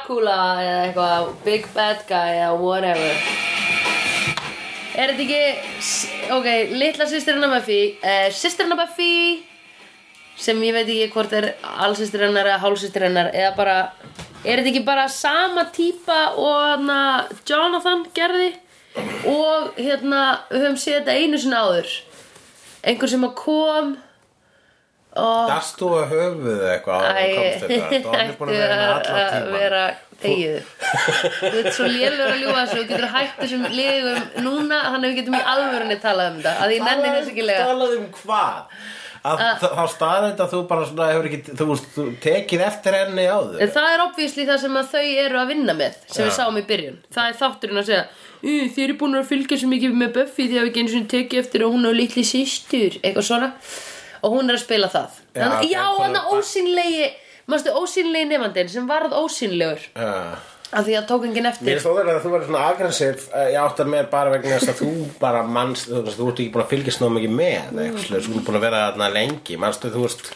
eða eitthvað Big Bad Guy eða whatever Er þetta ekki s- Ok, litla sýstirina Buffy uh, Sýstirina Buffy sem ég veit ekki hvort er allsýstir hennar eða hálsýstir hennar eða bara, er þetta ekki bara sama típa og hana, Jonathan gerði og hérna við höfum séð þetta einu sinni áður einhver sem að kom og Dastu að höfuð eitthvað áður en komst þetta Donni er búin að vera ættu hérna allan að tíman vera þegið þú ert svo lélur að ljúga þessu og getur hægt þessum liðum núna þannig að við getum í alvörunni talað um þetta að ég nenni þessu ekki lega Talað um hvað? Að þá staðið að þú bara svona hefur ekki, þú veist, þú tekið eftir henni áður En það er obvísli það sem að þau eru að vinna með sem við Já. sáum í byrjun. Það er þátturinn að segja "Ú, Þið eru búin að fylgja svo mikið með Buffy því að við genið svona tekið eftir og hún er litli sýstur eitthvað svona og hún er að spila það. Já, Já, ok, Þannig, já bara- hann að ósýnlegi mástu ósýnlegi nefandinn sem varð ósýnlegur Já. af því að tók enginn Mér eftir. er stóður að þú verður svona aggressiv ég átt að mér bara vegna þess að þú bara manst, þú veist, þú ert ekki búin að fylgjast náðum ekki með eða eitthvað, svoleiðis, þú ert búin að vera þarna lengi, manstu, þú veist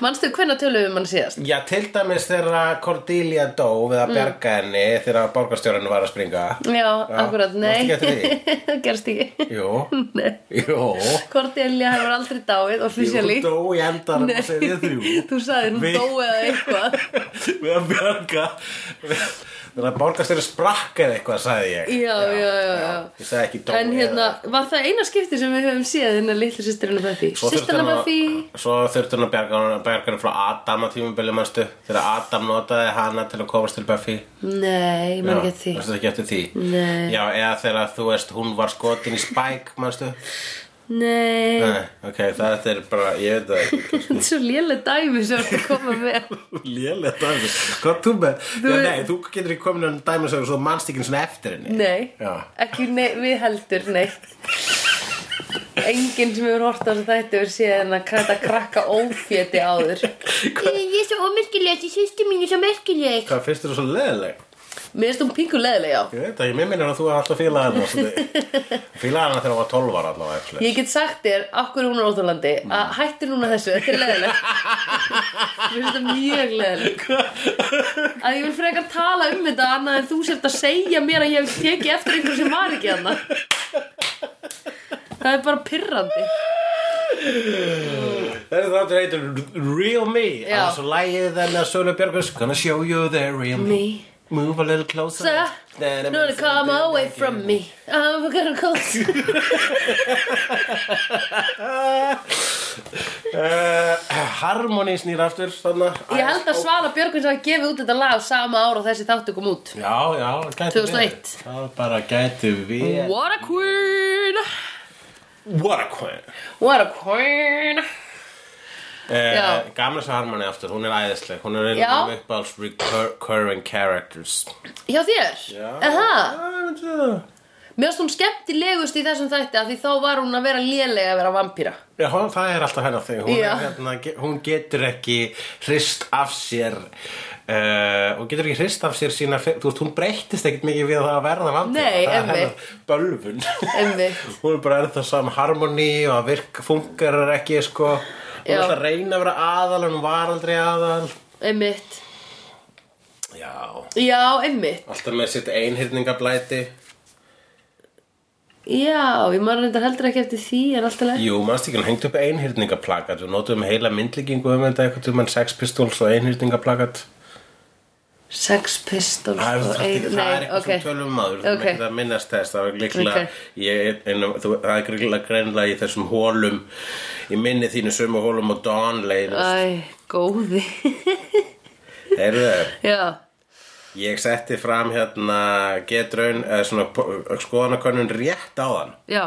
Manstu hvernig töluðum mann síðast? Já, til dæmis þegar Cordelia dó við Mm. að berga henni þegar borgarstjórinu var að springa Já, akkurat, nei. manstu ekki eftir Það gerst ekki. Jú, Nei. jú Cordelia hefur aldrei dáið, officially. Jú, dó í endanum og segir þrjú Þú sagðir hún Við- dóið eða eitthvað. við að bjarga þannig að borgarstjóri sprakk eða eitthvað sagði ég Já, já, já, já. ég sagði ekki dó En hérna, var það eina skipti sem við höfum séð hérna litlu sýstirinu Buffy? Sýstirinu Buffy svo þurfti hann að bjarga hann bjarga hann frá Adam á tímubili mannstu þegar Adam notaði hana til að komast til Buffy Nei, ég man ekki eftir því mannstu ekki eftir því Nei. já, eða þegar þú veist hún var skotin í Spike mannstu Nei, Nei, ok, það er bara, ég veit það ekki þetta er svo léleg dæmi sem þú ert að koma með lélega dæmi, hvað þú með já, er- nei, þú getur ekki komin um dæmi sem svo mannstíkin svona eftir henni Nei, Já. ekki nei, við heldur, nei Enginn sem hefur hort á þessu þætti hefur séð hérna kræta krakka óféti áður Ég er svo ómerkileg, þessi sýsti mín er svo merkileg. hvað finnst þér svo leðileg? Mér finnst hún pingu leðileg, já Ég veit það, ég mér minnir að þú er alltaf fílað hana svolítið. Fílað hana þegar hún var 12 ára allavega actually. Ég get sagt þér, okkur hún er óþólandi að hætti núna þessu, þetta er leðilegt Mér finnst þetta mjög leðilegt að ég vil frekar tala um þetta annað en þú sért að segja mér að ég hef tekið eftir einhver sem var ekki hana Það er bara pirrandi Það er þáttur heitur Real Me Já. Það er svo lægið þenni að Sölu Björgus Gonna show you the real me, Me Move a little closer So, Gonna come away from me I'm gonna call you uh, Harmony snýr aftur þarna. Ég held sko. að Svala Björgvins hafi gefið út þetta lag sama ára og þessi þáttu kom út Já, já, gæti 2001. verið. Það bara gæti við What a queen What a queen What a queen Já. uh, Gamla sem Harmony aftur, hún er æðisleg Hún er Já. einu upp alls recurring characters Hjá þér? Aha. Það er það Mér finnst hún skemmtilegust í þessum þætti af því þá var hún að vera lélega að vera vampýra. Já, hún, það er alltaf hennar þig hún, Já. er hérna, ge- hún getur ekki hrist af sér uh, hún getur ekki hrist af sér sína, fe- þú veist, hún breyttist ekkert mikið við það að verða vandir Nei, það einmitt. bölvun Einmitt. hún er bara ennþá sam harmoni og að virk fungerar ekki sko. hún Já. er alltaf að reyna að vera aðal en hún var aldrei aðal Einmitt. Já, Já, einmitt. alltaf með sitt einhyrningablæti Já, ég maður reyndar heldur ekki eftir því en alltaf leið. Jú, mannst ekki, hún hengt upp einhyrningaplakat við notum heila myndlíkingu um þetta eitthvað tímann sex pistols og einhyrningaplakat Sex pistols Það er, og það ein... er, það er eitthvað sem tölum um maður Ok. okay. ekki að minnast þess það er líklega Ok. ég, en, þú, það er líklega greinlega í þessum hólum í minni þínu sömu hólum og Dawn leiðist Æ, góði. heyrðu Já. ég setti fram hérna getraun eða svona po- skoðanakönnun rétt á þann Já.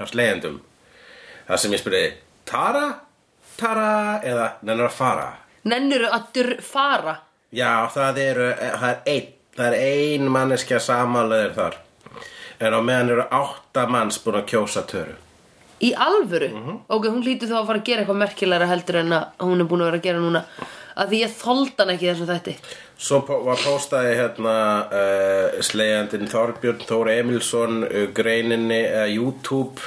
hjá sleiðendum það sem ég spurði Tara, Tara eða nennar að fara Nennur að dur fara. Já, það eru, eh, það er einn, það er ein manneskja samanleðir þar. En á meðan eru átta manns búin að kjósa töru. Í alvöru? Mhm. Ok, hún hlýtur þá að fara að gera eitthvað merkilegra heldur en að hún er búin að vera að gera núna. Að því ég þoldi hann ekki í þessum þætti. Svo po- var póstaði hérna uh, eh, slegjandinn Þorbjörn Þór Emilsson uh, greininni uh, YouTube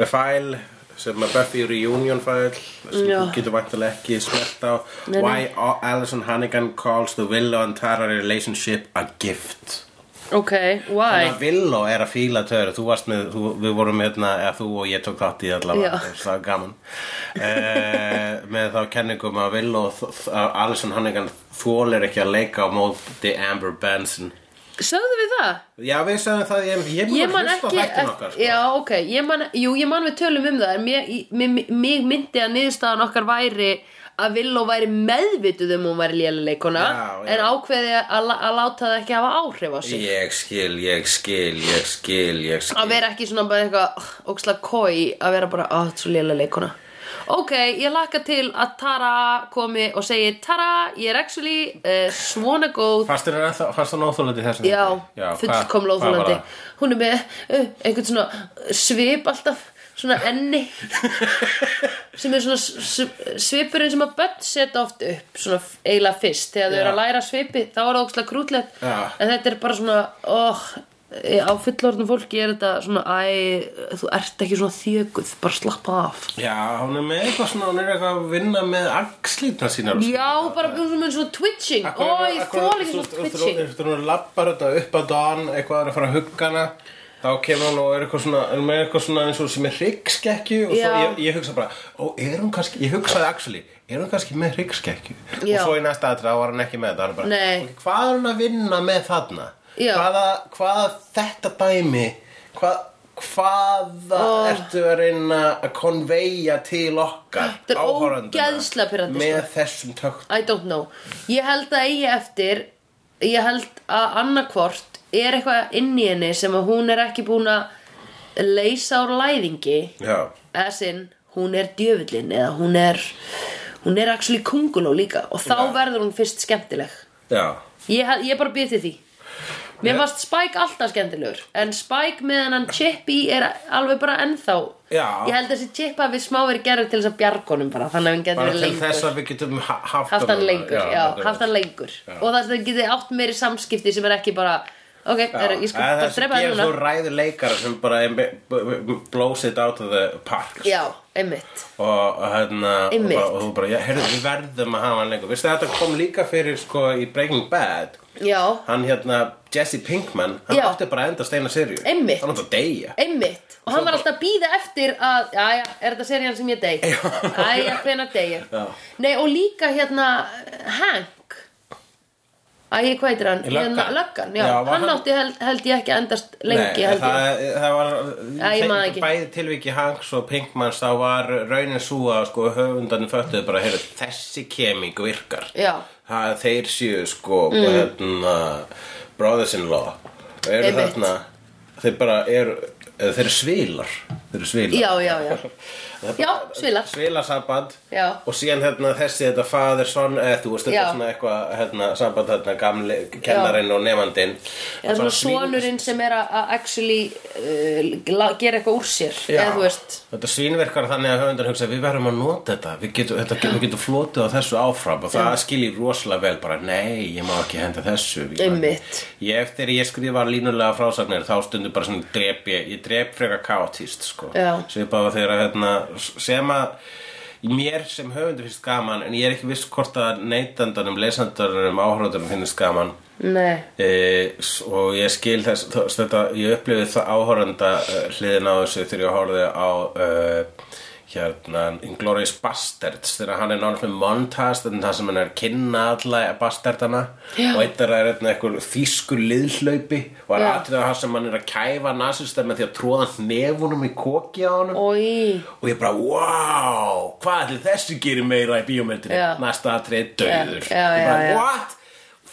fæl eh, sem að Buffy reunion file sem Já. þú getur vantilega ekki smert á Nei, nei. Why Alison Hannigan calls the Willow and Tara relationship a gift Ok, why? Þannig að Villó er að fíla töru Þú varst með, þú, við vorum hérna eða þú og ég tók þátt í allavega Já. það var gaman eh, með þá kenningum að Villó Alison Hannigan þólir ekki að leika á móti Amber Benson Sögðu við það? Já, við sagðum það, ég, ég, Ég man að hlusta ekki, á þættin okkar sko. já ok, ég man, jú ég man við tölum um það, en mér, í- mér, mér myndi að niðurstaðan okkar væri að Villó væri meðvituð um hún væri lélega leikona, Já, já. en ákveði að, la- að láta það ekki hafa áhrif á sig. Ég skil, ég skil, ég skil, ég skil Að vera ekki svona bara eitthvað óksla kói, að vera bara, að þetta er svo lélega leikona. Ok, ég laka til að Tara komi og segi, Tara, ég er actually uh, svona góð Fannst þér ennþá- fannst hann óþólandi þessum? Já, fullkomlega óþólandi Hún er með uh, einhvern svona svip alltaf Svona enni Sem er svona s- s- svipurinn sem að börn setja oft upp Svona f- eiginlega fyrst Þegar þau Já. eru að læra svipi Þá er það ókslega krútlegt Já. En þetta er bara svona oh, Á fullorðnum fólki er þetta svona Æ, þú ert ekki svona þjöguð Bara slappa af Já, hún er með eitthvað svona, hún er eitthvað að vinna með axlítna sínar og Já, bara svona, svona twitching Ó, ég þóla ekki svona twitching Þegar hún lappar þetta upp að dan eitthvað er að fara að hugga hana þá kemur hún og er eitthvað svona, er með eitthvað svona eins og sem er hryggskekkju og svo Já. ég, ég hugsa bara, ó, er hún kannski ég hugsaði actually, er hún kannski með hryggskekkju og Já. svo í næsta aðra var hann ekki með þetta hann bara, Nei. "Ok, hvað er hún að vinna með þarna Já. hvaða, hvaða þetta dæmi hvað, hvaða Ó. ertu að reyna að konveja til okkar Þetta er áhorfenduna ógeðslega pirrandi, með sko. þessum tökt I don't know Ég held að eigi eftir Ég held að annarkvort er eitthvað inn í henni sem að hún er ekki búin að leysa úr læðingi Já. eða sinn, hún er djöfullin eða hún er hún er actually konguló líka og þá Já. verður hún fyrst skemmtileg Já. Ég, hel- ég bara býð til því Mér Já. fannst Spike alltaf skemmtilegur en Spike með hennan chip í er alveg bara ennþá Já. Ég held að þessi chip hafi smá verið gerður til þess að bjargonum bara þannig að hann getur Bara verið til lengur þess að við getum ha- haft, haft hann núna. lengur, já, akkurat. haft hann lengur og það sem getið átt meiri samskipti sem er ekki bara ok, Já. er, ég skal Eða bara það sem drepa það gerir svo núna ræður leikara sem bara er me- b- b- blows it out of the park já, einmitt og, og hérna og, Einmitt. bara- og þú bara, já, heyrðu, við verðum að hafa hann lengur Vistu þetta kom líka fyrir sko í Breaking Bad já, hann hérna, Jesse Pinkman hann Já. átti bara að enda steina serju Einmitt. hann átti að deyja einmitt og hann var alltaf að býða eftir að jæja, er þetta serían sem ég deg jæja, hvena deg ég Já. nei, og líka hérna Hank æ, hvað heitir hann? Löggan. Hérna, löggan, já, Já, var hann hann- átti held, held ég ekki að endast lengi, Nei, held ég það, það var ég man ekki. bæði tilviki Hanks og Pinkmans þá var raunin sú að sko höfundarnir föttuðu bara heyrðu, þessi keming virkar Já. það, þeir séu sko mm. hérna, brothers in law eru Einmitt. þarna þeir bara eru eða þeir eru svilar þeir eru svilar já, já, já, Það er Já, bara- svilar. svilasamband Já. og síðan hérna, þessi þetta faðir son eða þú veist þetta Já. svona eitthvað hérna, samband hérna, gamli kennarinn og nefandinn eða Bara svona svín- sonurinn sem er að að actually uh, la- gera eitthvað úr sér Já. eða þú veist Þetta svínverkar þannig að höfundar hugsa við verðum að nota þetta, við getum, þetta, við getum flotið á þessu áfram og það skilir rosalega vel bara nei, ég má ekki henda þessu Ég má ekki- Einmitt. Ég eftir ég skrifa línulega frásagnir þá stundum bara svona drep ég, ég drep frekar kaotíst sko Já. Svipað og þegar hérna, sem að mér sem höfundur finnst gaman en ég er ekki viss hvort að neytandanum, lesandanum, áhróðanum finnst gaman Nei, e, og ég skil þess, þess þetta, ég upplifið það áhorenda hliðin á þessu þegar ég horfði á uh, hérna Inglourious Bastards þegar hann er náttúrulega með montast en það sem hann er að kynna alla bastardana Já. og eitt er að er eitthvað þýskur liðhlaupi og hann Já. aðrið að það sem hann er að kæfa nasista með því að tróða hnefunum í koki á honum oi og ég bara, wow, hvað ætli þessi gerir meira í bíómyndinni? Já. Næsta atrið döður. Já, já, ég bara, já, já. what?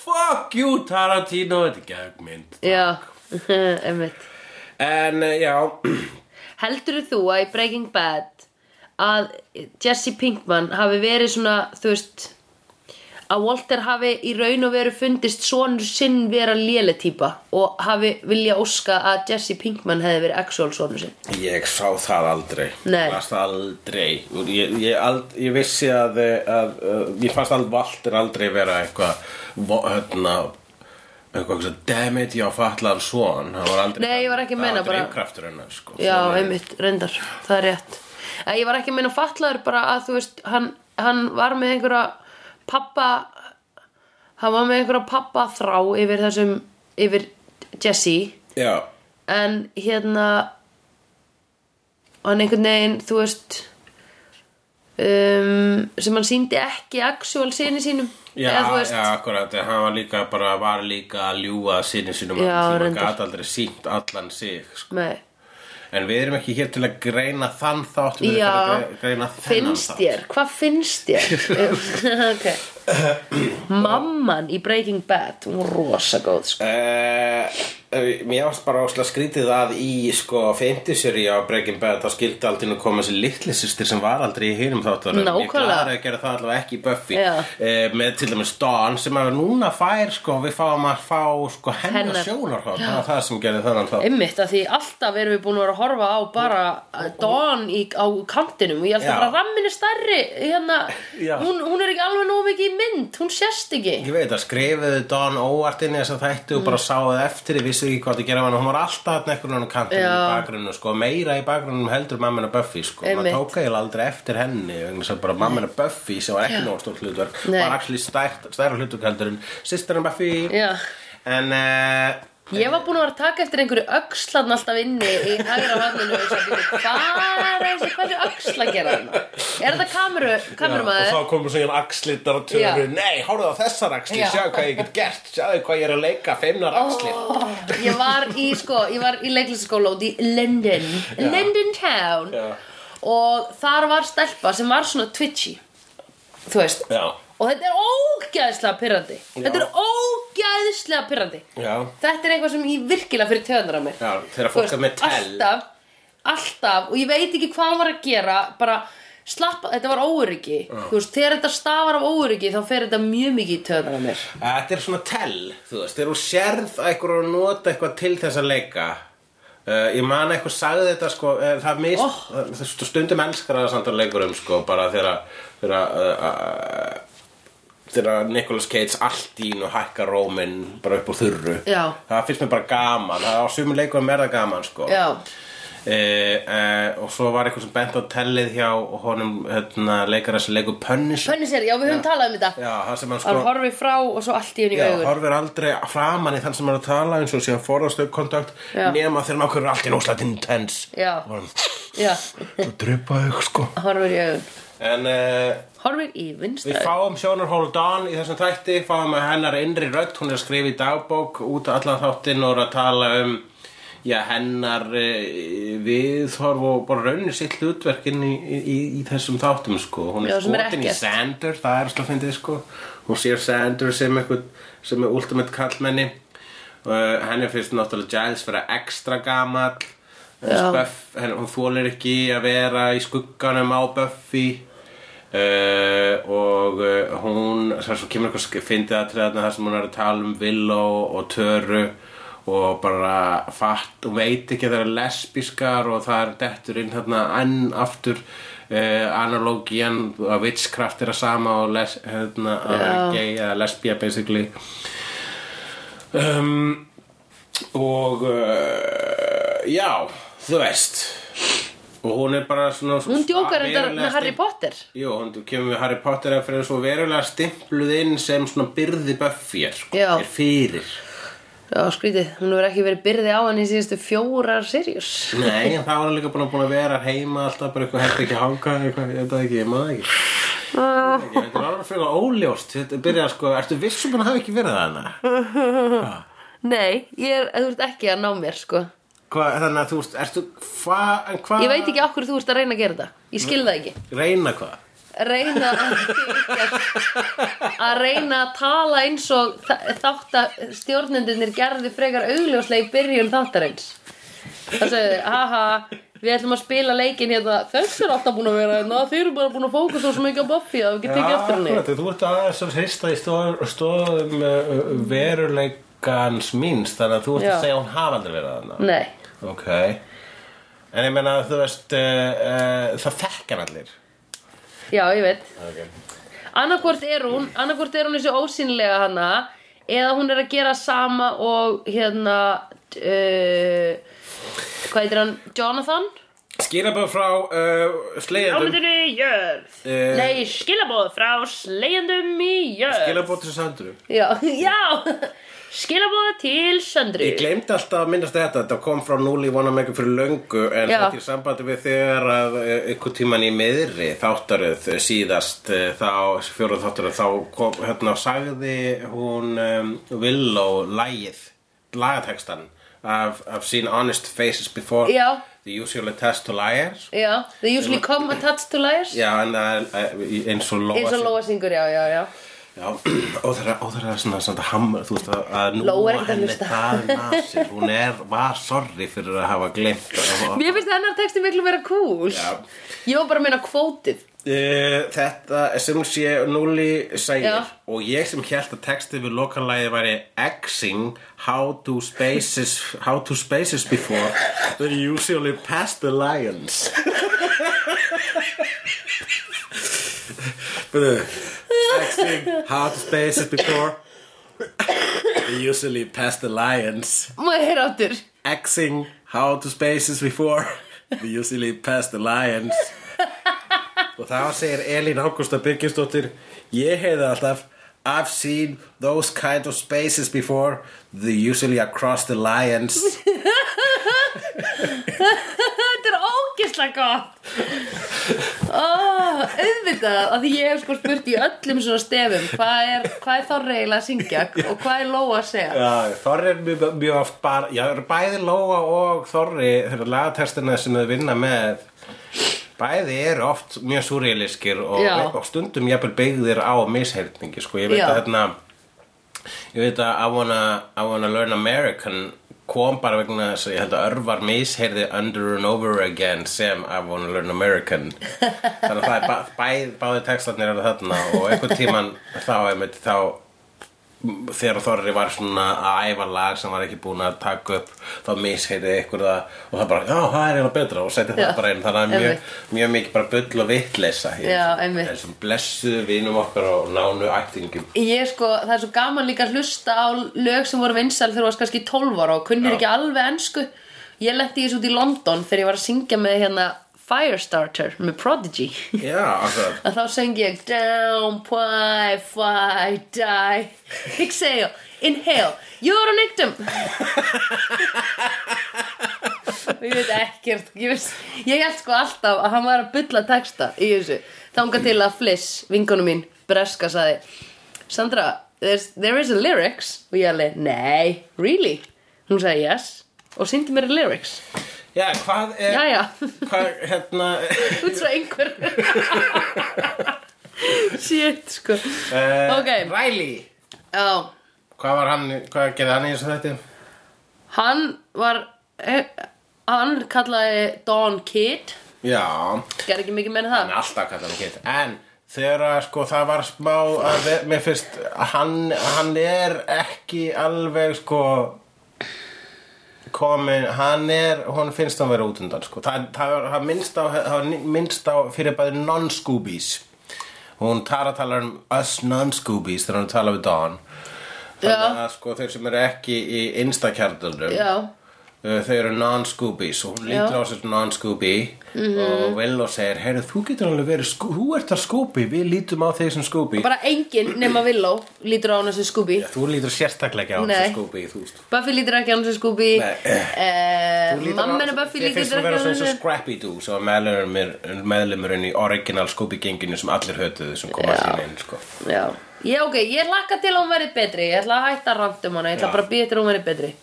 Fuck you Tarantino, þetta er gegmynd. Já, einmitt En eh, já, Heldur þú að í Breaking Bad að Jesse Pinkman hafi verið svona, þú veist að Walter hafi í raun og veru fundist sonur sinn vera léle típa og hafi vilja óska að Jesse Pinkman hefði verið actual sonur sinn ég sá það aldrei. Nei. Ég fannst það aldrei. Ég, ég, ald, ég vissi að, eh, að, að ég fannst alveg Valter aldrei vera eitthvað, vo- hérna, eitthvað, eitthvað, damn it, ég á fatlaðan svon. Nei, ég var ekki að meina Það var bara- drivkraftur hennar, sko. Já, Þannig- einmitt, reyndar, það er rétt að ég var ekki að meina fatlaður bara að þú veist hann, hann var með einhverja pappa hann var með einhverja pappa þrá yfir þessum yfir Jesse Já, en hérna hann einhvern veginn þú veist um, sem hann síndi ekki actual sinni sínum já, Eða, þú veist, já akkurat Hann var líka bara, var líka að ljúga sinni sínum Já, allan tíma, reyndar. gat aldrei sínt allan sig sko. nei, En við erum ekki hér til að greina þann þátt Við erum Já. til að gre- greina þennan finnst þátt þér hvað finnst þér okay. mamman í Breaking Bad hún var rosa góð sko. Uh, mér varst bara óslega skrítið að í sko feintisjöri á Breaking Bad þá skildi aldrei nú koma þessi litli systir sem var aldrei í hinum þáttunum Nákvæmlega. ég glæður að gera það allavega ekki í Buffy Já. uh, með til dæmis Dawn sem að núna fær sko við fáum að fá sko hennar, Hennar. hennar. sjónarhátt það er það sem gerði þannan þátt einmitt að því alltaf erum við búin að vera að horfa á bara eh, Dawn í, á kantinum og ég held Já. að bara rammin er stærri hérna, Já. hún, hún er ekki alveg nóg mikið í mynd hún sérst ekki Ég veit að skrifuðu Don óvart inn í þess að þætti og bara Mm. sáðu eftir ég vissi ekki hvað það gera hann hún var alltaf hann ekkur hann kantinu í Já. bakgrunnu sko, meira í bakgrunnu heldur mamma hennar Buffy sko, Einmitt. maður tók eiginlega aldrei eftir henni vegna þess að bara mamma hennar Buffy sem var ekki nóg stórt hlutverk Nei. var actually stært, stærra hlutverk heldur en sýstir hennar Buffy Já. en uh, Ég var búin að vera að taka eftir einhverju öxlan alltaf inni í hægra vatninu og þess að byrja, hvað er þessi, hvað er öxla að gera þarna? Er þetta kameru, kamerumæður? og þá komur svona axlittar og Já. törur nei, hóruðu á þessar axli, Já. sjáðu hvað ég get gert sjáðu hvað ég er að leika feimnar axlir Ég var í, sko, ég var í leiklistaskóla út í London, London Town Já. og þar var stelpa sem var svona twitchy, þú veist. Já. Og þetta er ógæðslega pyrrandi, þetta er ógæðslega pyrrandi. Já. Þetta er eitthvað sem ég virkilega fyrir töðunar á mér. Já, þegar Þú fólk veist, er með tell alltaf, alltaf og ég veit ekki hvað hann var að gera bara slappa, þetta var óöryggi þú veist, þegar þetta stafar af óöryggi þá fer þetta mjög mikið í töðan af mér Þetta er svona tell, þú veist, þegar þú sérð að einhver að nota eitthvað til þess að leika uh, Ég man eitthvað sagði þetta sko, uh, það mist, Oh. oh. uh, stundum elskar það samt að leikurum sko, bara þegar, þegar, uh, uh, þegar Nicolas Cage allt í og hækka róminn bara upp úr þurru Já. Það finnst mér bara gaman, það á sumum leikurum er það gaman sko já, Eh, eh, og svo var eitthvað sem bent á tellið hjá honum hérna, leikara sem leikur Punisher pönni sér, já við höfum talað um þetta Já, það sem hann sko hann horfir frá og svo allt í henni í Já, augun horfir aldrei framan í þann sem er að tala eins og síðan forðast aukkontakt Já. nema þegar nákvæmur er allt í nóslega intense Já. og hann já, svo drupa auk sko horfir í augun En uh, horfir í við vinstæð fáum sjónar Hold On í þessum þætti fáum að hennar innri rödd, hún er að skrifa í dagbók út af allan þáttinn og er að tala um já, hennar uh, viðhorf og bara raunir sitt hlutverkinn í, í, í, í þessum þáttum sko hún Já, er sem er skotin í ekkert. Sander, það er slá fyndið sko hún sér Sander sem, eitthvað, sem er ultimate kallmenni uh, henni finnst náttúrulega Giles vera ekstra gamall Já. Buff, henni, hún þólir ekki að vera í skugganum á Buffy uh, og uh, hún svo, svo kemur eitthvað sk- fyndið að treða þar sem hún er að tala um Willow og Töru og bara fatt og veit ekki að það eru lesbískar og það er dettur inn þarna enn aftur uh, analógian að witchcraft er að sama og les, hérna, að vera Já. gay eða lesbía basically um, og uh, já, þú veist og hún er bara svona hún djókar þetta verulega með Harry stimp- Potter Jú, hún kemur við Harry Potter að fyrir svo verulega stimpluð inn sem svona byrði Buffy er, sko, Já. er fyrir já, skrítið, hún hefur ekki verið byrði á henni í síðustu fjórar serjus Nei, en það var líka búin að, búin að vera heima alltaf bara eitthvað hægt ekki að hanga eitthvað, ég veit það ekki, ég maður ekki Ah. Ég veit ekki, Þetta er alveg fyrir óljóst Þetta byrjaði sko, ertu vissum að hafa ekki verið það hana? nei, ég er, þú ert ekki að ná mér sko Hvað, þannig að þú veist, ertu, hvað, en hvað ég veit ekki okkur þú ert að reyna að gera þetta ég skil það ekki Reyna hvað? reyna að, að reyna að tala eins og þátt að stjórnendunir gerðu frekar augljóslega í byrjun þáttarins það segðu, haha við ætlum að spila leikin hérna þess er alltaf búin að vera hérna þeir eru bara búin að fókusa svo mikið á Buffy að við getum ekki eftir henni akkurat, þú ert aðeins að hrista í stóðum, stóðum uh, uh, veruleikans minns þannig að þú ert Já. Mm. að segja að hún hafa aldrei verið þarna nei, Ok En ég meina þú veist uh, uh, það þekkar allir já ég veit okay. annarkvort er hún annarkvort er hún þessi ósýnilega hana eða hún er að gera sama eh, og hérna uh, hvað heitir hann, Jonathan Skilaböð frá uh, slegjandum Ámyndinu í jörð Eh. Nei, skilabóð frá slegjandum í jörð Skilaböð til Sandru Já, já Skilabóð til söndru Ég glemdi alltaf að minnast þetta, þetta kom frá núli vona mega fyrir löngu en Já. þetta er sambandi við þegar að eh, einhvern tíman í miðri þáttaröð eh, síðast eh, þá, fjóruð þáttaröð þá kom, hérna sagði hún um, Willow lægið, lagatextan I've, I've seen honest faces before Já. the usual test to liars Já, they usually come attached to liars Já, en það er eh, eins og Lóa Eins og Lóa syngur, já, já, já Já, og það er- og það er svona svona hammer, þú veist að, að nú Lóa er ekkert að hlusta. það nasir, hún er, var sorry fyrir að hafa glemt að- Mér finnst hennar texti miklu vera cool Já. Ég var bara að meina kvótið Eh, Þetta sem sé Núli segir Já. og ég sem held að textið við lokalæði væri Exing how to spaces how to spaces before they're usually past the lions Byrðu, Exing how to spaces before they're usually past the lions Má ég heyra áttur Xing how to spaces before We usually pass the lions Og þá segir Elín Ágústa Birgisdóttir Ég heiði alltaf I've seen those kind of spaces before They usually are across the lions Þetta er ógeðslega gott oh, Auðvitað Af því ég hef sko spurt í öllum svona stefum Hvað er, hvað er Þorri eiginlega að syngja Og hvað er Lóa að segja Já, Þorri er mjög, mjög oft bara Já, eru bæði Lóa og Þorri Þeirra lagatestina sem þau vinna með Bæði eru oft mjög súrýliskir og, Já. og stundum jafnvel byggðir á misheyrningi sko. Ég veit Já. að hérna Ég veit að I wanna, I wanna learn American kom bara vegna þess að ég held að örvar misheyrði under and over again sem I wanna learn American þannig að það er bæ, bæ, báði textarnir eru þarna og einhvern tíman þá, einmitt, þá þegar Þorri var svona að æfa lag sem var ekki búin að taka upp þá misheiti ykkur það og það bara, já, það er hérna betra og setja Já, það bara inn þannig að mjög, einmitt. mjög mikið bara bull og vittleysa í Já, þessum- einmitt. þessum blessuðu vinum okkar og nánu ættingum Ég sko, það er svo gaman líka að hlusta á lög sem voru vinsæl þegar þú varst kannski 12 ára og kunnir Já. ekki alveg ensku Ég lendi þessu út í London þegar ég var að syngja með hérna Firestarter með Prodigy já, akkurat að þá söng ég Down, pie, fly, die Exhale, inhale, you're an victim Og Ég veit ekkert Ég, veist, ég held sko alltaf að hann var að bylla texta í þessu Þanga til að Fliss, vinkonu mín, breska saði Sandra, there's- there is a lyrics Og ég alveg, nei, really? Hún sagði yes og syndi mér lyrics já, hvað er, Jæja, hvað, hérna út svo einhver Shit, sko uh, Ok. Riley Já, hvað var hann, hvað gerði hann í þessu þetta hann var eh, hann kallaði Don Kidd já, gerði ekki mikið meina það hann er alltaf kallar hann Kit en þegar að sko það var smá að ver, mér finnst hann, hann er ekki alveg sko komin, hann er hún finnst hann vera út undan sko það, það, var- það, minnst, á, það var minnst á fyrir bæði non-scoobies hún tara talar um us non-scoobies þegar hún talar við Dawn þannig Já. að sko þeir sem eru ekki í instakjarnunum Já, Uh, Þau eru non-Scoobies og hún lítur á sér sem non-Scooby Mhm. og Willow segir, heyrðu, þú getur alveg verið, Sco- þú ert að Scooby, við lítum á þig sem Scooby. bara enginn nema Villó lítur á hann sem Scooby Já, þú lítur sérstaklega ekki á hann Nei. sem Scooby, þú veist. Buffy lítur ekki á hann sem Scooby Nei. eh, Þú lítur á- mamma hennar Buffy Þér lítur finnst ekki þú á vera hann svona eins og sem Scrappy-Doo sem var meðlumurinn meðlumurinn í original Scooby-genginu sem allir hötuðu sem koma Já. sín inn, sko. Já, ég ok, ég lakka til að hún verið betri ég ætla að hætta að ranta um hana, ég ætla Já. bara að býja til að hún verið betri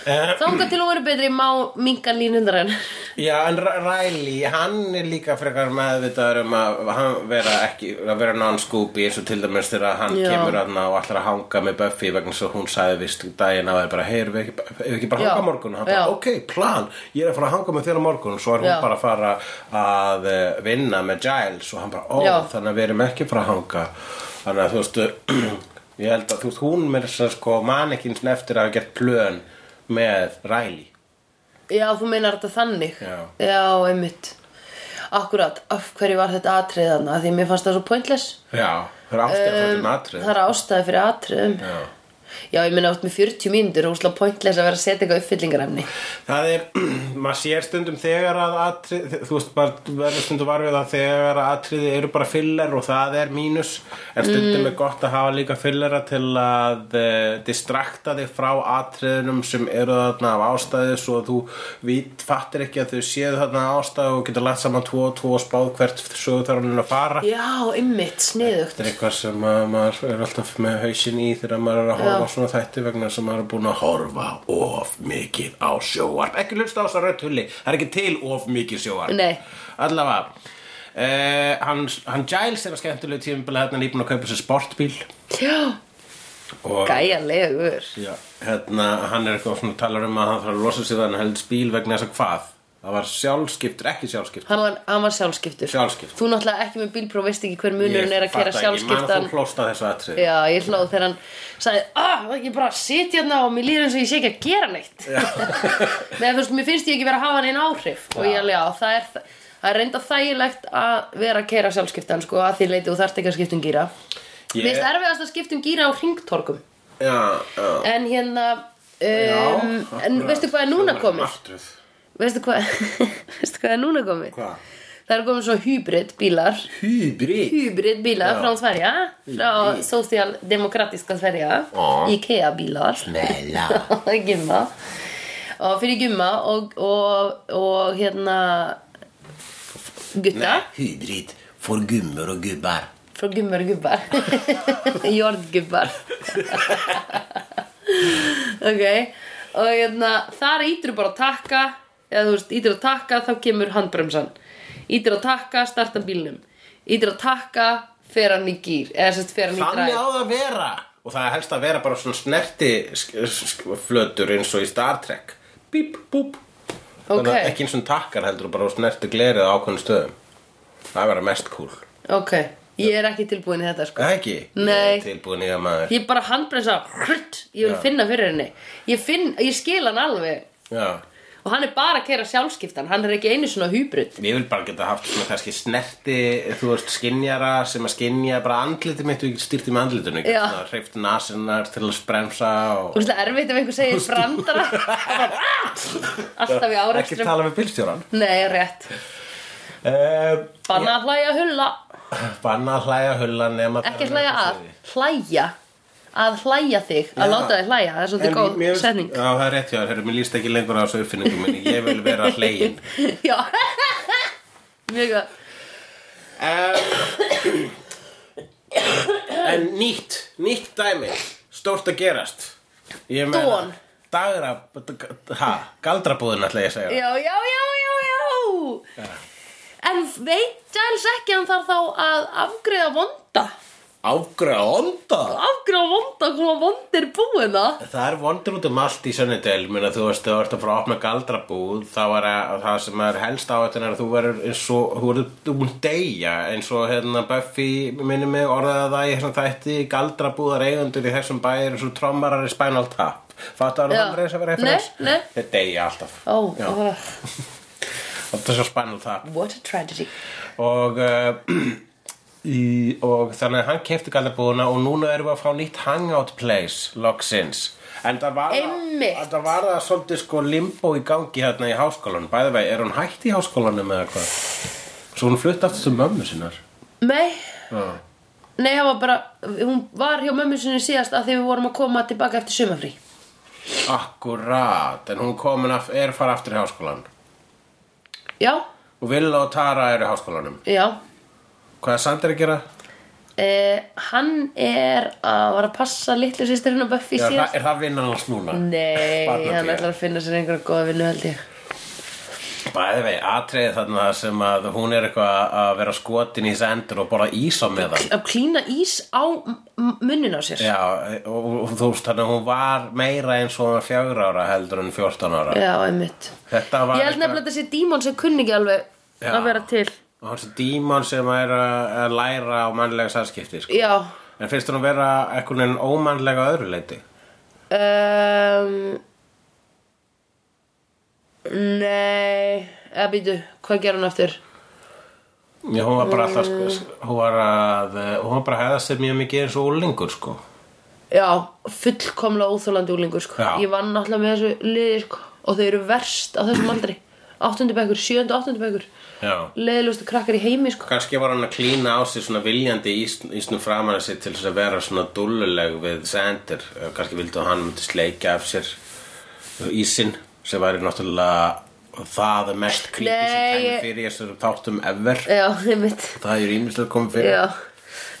Uh, þanga til að hún verið betri má minka línundar hennar Já, en R- Riley, hann er líka frekar meðvitaður um að hann vera ekki, að vera non-scooby eins og til dæmis þegar hann Já. kemur aðna og ætlar að hanga með Buffy vegna svo hún sagði vist daginn að það er bara, hey, erum við ekki, erum við ekki bara að Já. hanga á morgun? Og hann bara, Já. ok, plan, ég er að fara að hanga með þér á morgun svo er hún Já. bara að fara að eh, vinna með Giles og hann bara, ó, Já. þannig að við erum ekki að fara að hanga þannig að þú veist, ég held að þú veist, hún með þess að sko manekins eftir að hafa gert plön með Riley Já, þú meinar þetta þannig Já. einmitt Akkurat, af hverju var þetta atrið þarna Af Því mér fannst það svo pointless Já, það er ástæða fyrir um atrið Það er ástæði fyrir atriðum Já Já, ég meina átt með 40 mínútur og úsla pointless að vera að setja eitthvað uppfyllingarefni Það er, maður sér stundum þegar að atrið, þú veist, maður verður stundum varfið að þegar að atriði eru bara filler og það er mínus en stundum er gott að hafa líka fillera til að uh, distrakta þig frá atriðunum sem eru þarna af ástæðu svo að þú vít, fattir ekki að þau séu þarna af ástæðu og getur lagt saman tvo og tvo og spáð hvert sögur þar hann að fara Já, ymmit, sniðugt Þetta er eitthvað sem að maður er alltaf með hausinn í þegar maður er að horfa á svona þætti vegna sem maður er búin að horfa of mikið á sjóvarp. Ekki hlusta á þess að rödd hulli, það er ekki til of mikið sjóvarp. Nei. Allavega, eh, hann, hann Giles er að skemmtilegu tímabili hérna nýbúin að kaupa sér sportbíl. Já, Og, gæjanlegur Já, hérna, hann er eitthvað svona talar um að hann þarf að losa sig þannig helds bíl vegna þess að hvað? Það var sjálfskiptur, ekki sjálfskiptur. Hann var, hann var sjálfskiptur Sjálfskiptur. Þú náttúrulega ekki með bílpróf veist ekki hver munurinn er að kera Ég man að sjálfskiptan þú hlósta þessu atrið. Já, ég hlóð þegar hann sagði Ah, það ekki bara að sitja hérna og mér líður eins og ég sé ekki að gera neitt Nei, þú veist, mér finnst ég ekki vera að hafa neina áhrif Og ég alveg, já, það er, þa- það er reynda þægilegt að vera að kera sjálfskiptan sko, að því leiti og þarft ekki að skipta um gíra Ég- Mér finnst erfiðast að skipta um gíra á hringtorkum Já, já. En hérna Já, um, En akkurat. veistu hvað er núna Hljómar komið? martröð. Veistu hvað, veistu hvað er núna komið? Hvað? Það er komið svo hybrid bílar Hybrid Hybrid bílar Já. frá Sverige Frá Socialdemokratiska Sverige Já. Ikea bílar Mela Gimma Og fyrir Gimma og, og, og hérna Gutta Hybrid for gummur og gubbar Frá gummar og gubbar Jordgubbar Ok Og hérna, þar ítur bara að takka Eða þú veist, ítur að takka Þá kemur handbremsan Ítur að takka, starta bílnum Ítur að takka, fer hann í gýr Eða sérst, fer hann í dræð Þannig á það að vera Og það er helst að vera bara svona snerti sk- sk- flötur eins og í Star Trek Bíp, búp Ok. Þannig að ekki eins og takkar heldur bara snerti glerið á ákveðn stöðum Það vera mest cool Ok, ég er ekki tilbúin í þetta sko Það ekki? Nei. Ég er Tilbúin í að maður Ég bara handbremsa hrutt, Ég vil Já. finna fyrir henni Ég, finn, ég skil hann alveg Já Og hann er bara að kera sjálfskiptan Hann er ekki einu svona hybrid Ég vil bara geta haft svona kannski snerti, þú veist, skinjara sem að skinja bara andlitið mitt og ég get stýrti með andlitinu. Já. Hreift nasinnar til að spremsa og... Þú veist það erfitt ef einhver segir brandara og bara, "Ah!" Alltaf í Ekki árekstrum tala með bílstjóran. Nei, rétt Uh, Banna að hlæja að hulla banna að hlæja hulla nema... Ekki þegar hlæja það er að Hlæja Að hlæja þig Að Já. láta þig hlæja Það er En svolítið góð mér- setning Já, það er rétt, já, herru, mér líst ekki lengur á þessu uppfinningum minni, ég vil vera hlegin. Já Mjög góð Eh, En nýtt, nýtt dæmi, stórt að gerast. Ég meina- Don. Dagra, ha, galdrabúðin ætla ég að segja. Já, já, já, já, já En veit Giles ekki að Hann þarf þá að afgreða vonda Ágræða onda. Afgreða vonda Koma vondir búina Það er vondur út um allt í Sunnydale, mér að þú veist, þú ert að fara að opna galdrabúð, þá er að, það sem er helst á þetta er að þú verður eins og, þú verður, þú mun deyja, eins og hérna Buffy, minni mig, orðaði það í þessum þætti, galdrabúðar eigundur í þessum bæ eru svo trommarar í Spinal Tap. Fattar Já. það aldrei þess að vera Nei, referens? nei. Þeir deyja alltaf. Ó, Já. oh, Það er svo Spinal Tap what a tragedy og, uh, í, og þannig að hann kefti galdabúðuna og núna erum við að fá nýtt hangout place loksins en það var, Einmitt. en það, var það svolítið sko limbo í gangi hérna í háskólanum bæði vei, er hún hætt í háskólanum eða hvað svo hún flutt aftur til mömmu sinnar Nei, já, Nei, það var bara, hún var hjá mömmu sinni síðast að því við vorum að koma tilbaka eftir sumafrí. akkurat en hún komin af, er fara aftur í háskólan Já, og Villa og Tara eru í háskólanum já. hvað er Sander að gera? Eh, hann er að var að passa litlu sýsturinn á Buffy Já, er, það- síðast. er það vinnan hans núna? Nei, Barnapía. hann ætlar að finna sér einhverja góða vinnu held ég. Bæði vei, atriði þarna þar sem að hún er eitthvað að vera skotin í sendur og borða ís á meðan. Að klína ís á m- m- munnin á sér. Já, og, og þú veist, þannig að hún var meira eins og hún var fjögur ára heldur en 14 ára. Já, einmitt. Þetta var Ég held nefnilega að þessi dímon sem kunni ekki alveg Já. að vera til. Og hans er dímon sem er að að læra á mannlega sannskipti, sko. Já, En finnst hún að vera eitthvað en ómannlega að öðru leiti? um, nei, eða býtu, hvað gera hann aftur? Já, Eh. hún var bara alltaf, sko, hún var að, hún var bara að hefða sér mjög mikið eins og úlingur, sko. Já, fullkomlega óþólandi úlingur sko. Já. Ég vann alltaf með þessu liði sko. Og þau eru verst á þessum aldri Áttundu bekkur, sjöndu, áttundu bekkur Já. Leðilustu krakkar í heimi sko. Kannski var hann að klína á sig svona viljandi ísn, ísnum framan að sig til þess að vera svona dulluleg við sendir. Kannski vildi að hann myndi sleikja af sér ísin sem væri náttúrulega það mest creepy sem Nei, kæmi ég- fyrir þessum þáttum ever. Já, einmitt Það er ímislega komið fyrir. Já.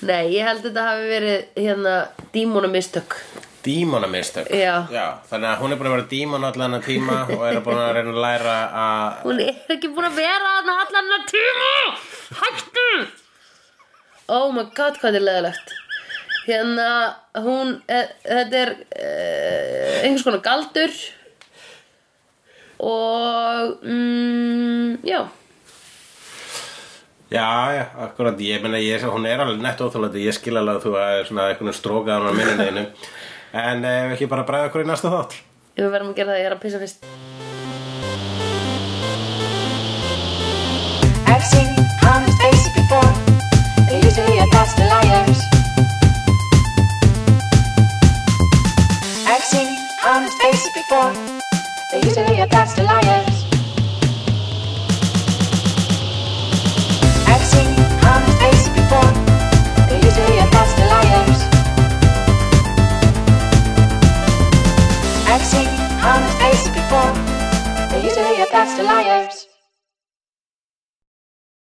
Nei, ég held að þetta hafi verið hérna dímonamistök Dímona mistök. Já. Þannig að hún er búin að vera dímon allan að tíma og er búin að reyna að læra að... Hún er ekki búin að vera þarna allan að tíma Hættu Oh my god, hvað þetta er leðilegt Hérna, hún eh, Þetta er eh, einhvers konar galdur Og mm, Já Já, já, akkurat, ég meina, ég, hún er alveg nett óþólandi, ég skil alveg að þú er svona einhvern stróka á hún að minni neginu. En eh, ef ekki bara bræða okkur í næsta þátt. Ef við verðum að gera það, ég er að pissa fyrst I've seen honest faces before. They're usually a pass to liars. I've seen honest faces before. They're usually a pass to liars. I've seen honest faces before. They're usually a pass to liars. I've seen honest faces before. They're usually a pass to liars.